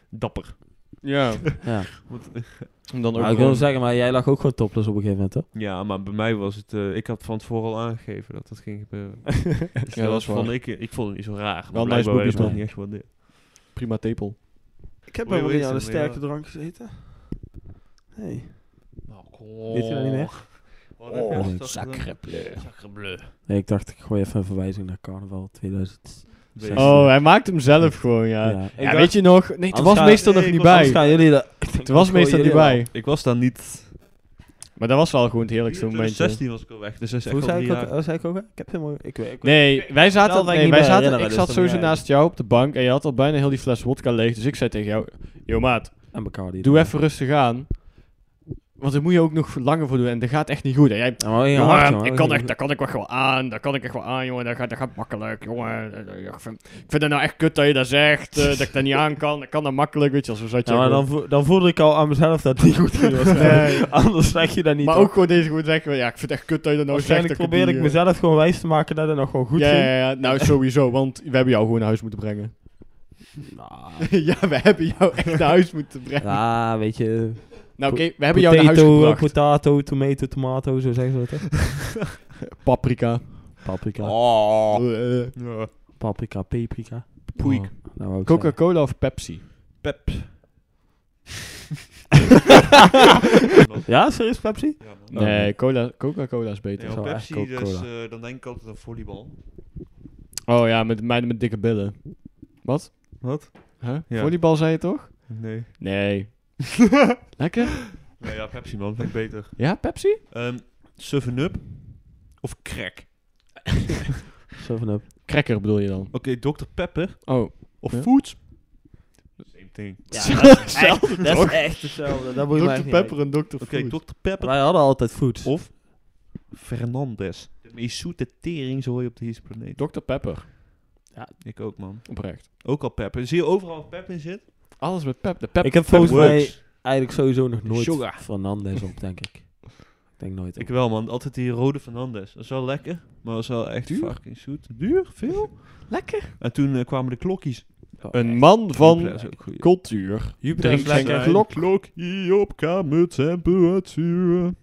dapper.
Ja.
ja.
Want-
En dan ook
Maar ik wil
gewoon-
zeggen, maar jij lag ook gewoon topless op een gegeven moment, hoor.
Ja, maar bij mij was het... eh, ik had van tevoren al aangegeven dat dat ging gebeuren. Dus
Ja, dat is
vond
waar.
ik, ik vond het niet zo raar.
Wel
Maar
nice
blijkbaar
boobies,
werd het
man.
niet echt wat
Prima tepel.
Ik heb
Hoe helemaal
helemaal
heet
niet
niet aan
aan
ze?
een
een sterke
sterke
Weet
drank gezeten. Nee.
Oh,
Weet je dat niet meer?
Oh,
ik dacht, ik gooi even een verwijzing naar carnaval 2000.
Weet je.
Oh, hij maakt hem zelf gewoon, ja. Ja,
Ik dacht,
weet je nog? Nee, het
Anders
was
ga-
meestal nog
Nee,
niet
ik was-
bij.
anders gaan jullie dat...
Het was meestal niet bij.
Ik was daar niet...
Maar dat was wel gewoon het heerlijkste
Toen ik
momentje.
16 was ik al weg, dus dat is echt
Hoe
al
zei
drie
ik ook?
jaar.
Oh, zei ik ook? hè? Ik heb helemaal... Ik weet, ik weet-
Nee, wij zaten,
dat ik
nee,
niet
wij
meer
zaten
herinneren,
ik
dus
zat
dan
sowieso
moet jij-
naast jou op de bank en je had al bijna heel die fles wodka leeg. Dus ik zei tegen jou, yo maat,
En Bacardi.
doe even rustig aan. Want daar moet je ook nog langer voor doen en dat gaat echt niet goed. En jij,
Ja, maar in je
jongen,
hart, jongen.
ik kan echt, dat kan ik echt wel aan, dat kan ik echt wel aan, jongen, dat gaat, dat gaat makkelijk, jongen. Eh, eh, Ik vind, ik vind het nou echt kut dat je dat zegt, eh, dat ik dat niet aan kan, dat kan dat makkelijk, weet je, als we zat je
Ja, maar
gewoon-
dan, voel- dan voelde ik al aan mezelf dat het niet goed ging. waarschijnlijk.
Nee.
Anders zeg je dat niet.
Maar
hoor.
ook gewoon deze goed zeggen, ja, ik vind het echt kut dat je dat nou zegt.
waarschijnlijk
dat
probeer
het
ik
niet, eh,
mezelf gewoon wijs te maken dat het nog gewoon goed
ja,
ging.
ja, ja, nou sowieso, want we hebben jou gewoon naar huis moeten brengen.
Nou,
ja, we hebben jou echt naar huis moeten brengen.
ja, weet je.
Nou oké, we hebben jou naar huis
Potato,
gebracht.
potato, tomato, tomato, zo zeggen ze dat. hè?
Paprika.
Paprika,
Oh.
Eh,
Ja.
paprika, paprika.
Poeik.
Oh, nou, wou ik zeggen.
Coca-Cola of Pepsi?
Pep.
Ja, serieus, Pepsi?
Ja,
Oh,
man.
Nee,
nee.
cola, Coca-Cola is beter.
Nee,
is
op
wel
Pepsi,
echt
dus,
Coca-Cola.
eh, dan denk ik altijd aan volleybal.
Oh ja, met meiden met dikke billen. Wat?
Wat?
Huh?
Ja.
Volleybal zei je toch?
Nee.
Nee. Lekker?
Nee, ja, Pepsi man, vind ik beter.
Ja, Pepsi?
Ehm 7-Up of crack? Oké,
Zo van up.
Cracker bedoel je dan?
Dr. Pepper
Oh.
of
Ja.
Foods? Same thing.
Ja, dat is echt, dat is echt hetzelfde. Dat moet je maar echt
Dr.
niet
Pepper en Dr.
Oké,
Food.
Dr.
weten.
Pepper
Wij hadden altijd foods.
of Fernandez. De meest zoete tering hoor je op deze planeet.
Dr. Pepper.
Ik ook man.
Oprecht.
Ook al pepper. Zie je overal pep in zit?
Alles met pep. De pep
Ik heb
pep
volgens mij-
works.
Eigenlijk sowieso nog nooit
Sugar.
Fernandez op, denk ik. Ik denk nooit op.
Ik wel man, altijd die rode Fernandez. Dat is wel lekker, maar dat is wel echt
Duur?
fucking zoet. Duur, veel.
Lekker.
En toen eh, kwamen de klokkies.
Oh,
Een man
Jupiler is
van
ook goed.
cultuur.
Jupiter
Drink
is lekker.
geen klok.
Klokkie op kamertemperatuur.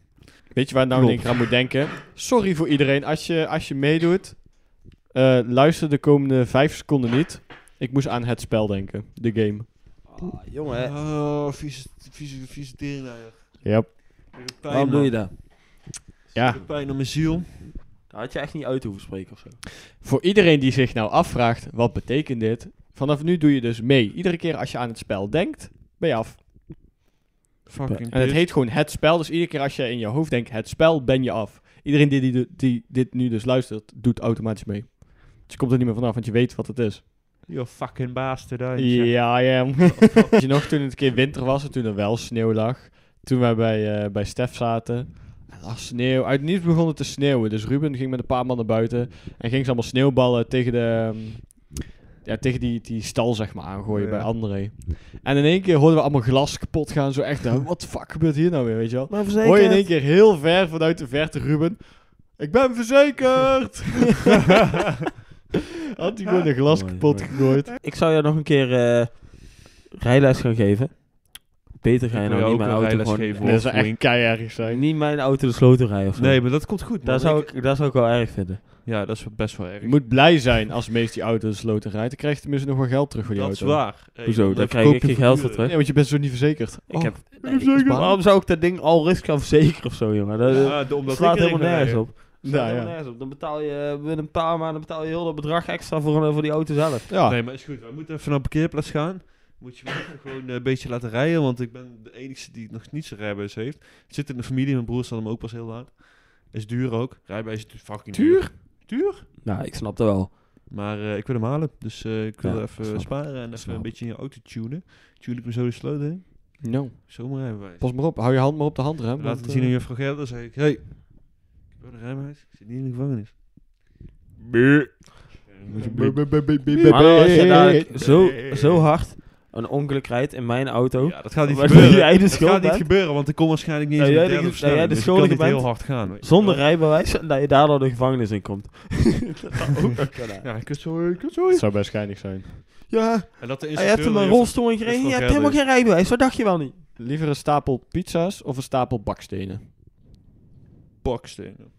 Weet je waar ik nou
Klopt.
denk aan moet denken? Sorry voor iedereen. Als je, als je meedoet, eh, luister de komende vijf seconden niet. Ik moest aan het spel denken. De game.
Ah, jongen,
Oh, vieze, vieze, vieze teringleier.
Ja.
Ik heb pijn,
waarom
man.
doe je dat?
Ik
ja.
heb pijn aan mijn ziel.
Dat Nou, had je echt niet uit hoeven spreken of zo.
Voor iedereen die zich nou afvraagt, wat betekent dit? Vanaf nu doe je dus mee. Iedere keer als je aan het spel denkt, ben je af.
Fucking
En het
bitch.
heet gewoon het spel. Dus iedere keer als je in je hoofd denkt, het spel, ben je af. Iedereen die, die, die dit nu dus luistert, doet automatisch mee. Dus je komt er niet meer vanaf, want je weet wat het is.
You fucking bastard. hè.
Ja, ja. Weet je nog toen het een keer winter was en toen er wel sneeuw lag? Toen wij bij, eh, bij Stef zaten. En lag sneeuw. Uit het niets begon het te sneeuwen. Dus Ruben ging met een paar man naar buiten. En ging ze allemaal sneeuwballen tegen de... ehm, Ja, tegen die, die stal, zeg maar, aangooien
Ja.
bij André. En in één keer hoorden we allemaal glas kapot gaan. Zo echt, nou, wat fuck gebeurt hier nou weer, weet je wel?
Maar
Hoor je in één keer heel ver vanuit de verte Ruben... Ik ben verzekerd! Had hij gewoon een glas
Mooi,
kapot
mooi.
gegooid.
Ik zou jou nog een keer eh, rijles gaan geven. Beter ga je
Ik wil
nou niet
jou ook
mijn
een
auto
rijles
gewoon...
geven,
Nee, dat zou
Wolf,
echt keihard zijn.
Niet mijn auto de sloten rijden of zo.
Nee, maar dat komt goed.
daar,
man.
zou
Ik-
ik, daar zou ik wel erg vinden.
Ja, dat is best wel erg.
Je moet blij zijn als meest die auto de sloten rijdt. Dan krijg je tenminste nog wel geld terug voor die
dat is
auto.
waar. Hey,
Hoezo?
dan
Daar
verkoop
krijg ik
je
geen geld voor
figuren.
terug.
Nee, want je bent zo niet verzekerd.
Ik
Oh,
heb, nee, ik-
zeker.
waarom zou ik dat ding al risk gaan verzekeren of zo, jongen? Dat,
Ja, Ah, de-
dat
omdat
slaat
ik erin
helemaal
ga
nergens
rijden.
op. Dat slaat
Nou,
helemaal
ja.
nergens op. Dan betaal je eh, binnen een paar maanden betaal je heel dat bedrag extra voor, een- voor die auto zelf.
Ja,
Nee, maar is goed. We moeten even naar de parkeerplaats gaan. Moet je me even gewoon eh, een beetje laten rijden, want ik ben de enige die nog niet zijn rijbewijs heeft. Het zit in de familie, mijn broer staat hem ook pas heel laat. Is duur ook. Rijbewijs is fucking duur.
Nou, ik snap dat wel.
Maar eh, ik wil hem halen, dus eh, ik wil
Ja,
er
snap
even
ik.
sparen en even
Snap
een
ik.
beetje in je auto tunen. Tune ik me zo de sloot heen.
no.
Zomaar rijbewijs.
Pas maar op, hou je hand maar op de handrem.
Laat
want,
het zien aan
eh,
juffrouw Gerda, zei ik, hey, ik heb een rijbewijs, ik zit niet in de gevangenis.
Maar nou, als je daar zo, zo hard een ongeluk rijdt in mijn auto...
Ja, dat gaat niet
Waar
gebeuren.
jij de
dat
schuld
gaat niet
bent?
gebeuren, want ik kom waarschijnlijk niet
Dat
eens in
jij
de
de-
derde
dat
versnelling,
jij de
dus ik kan niet
schuldige
heel
bent?
hard gaan. weet je
Zonder
wel.
rijbewijs en dat je daardoor de gevangenis in komt.
Ja, ik kut zo, ik kut zo.
Het zou best geinig zijn.
Ja,
En dat de
hij heeft
instructeur
hem een
heeft-
rolstoel ingereden.
is
Je
wel
hebt helemaal
geld,
geen rijbewijs, wat dacht je wel niet?
Liever een stapel pizza's of een stapel bakstenen?
bakstenen.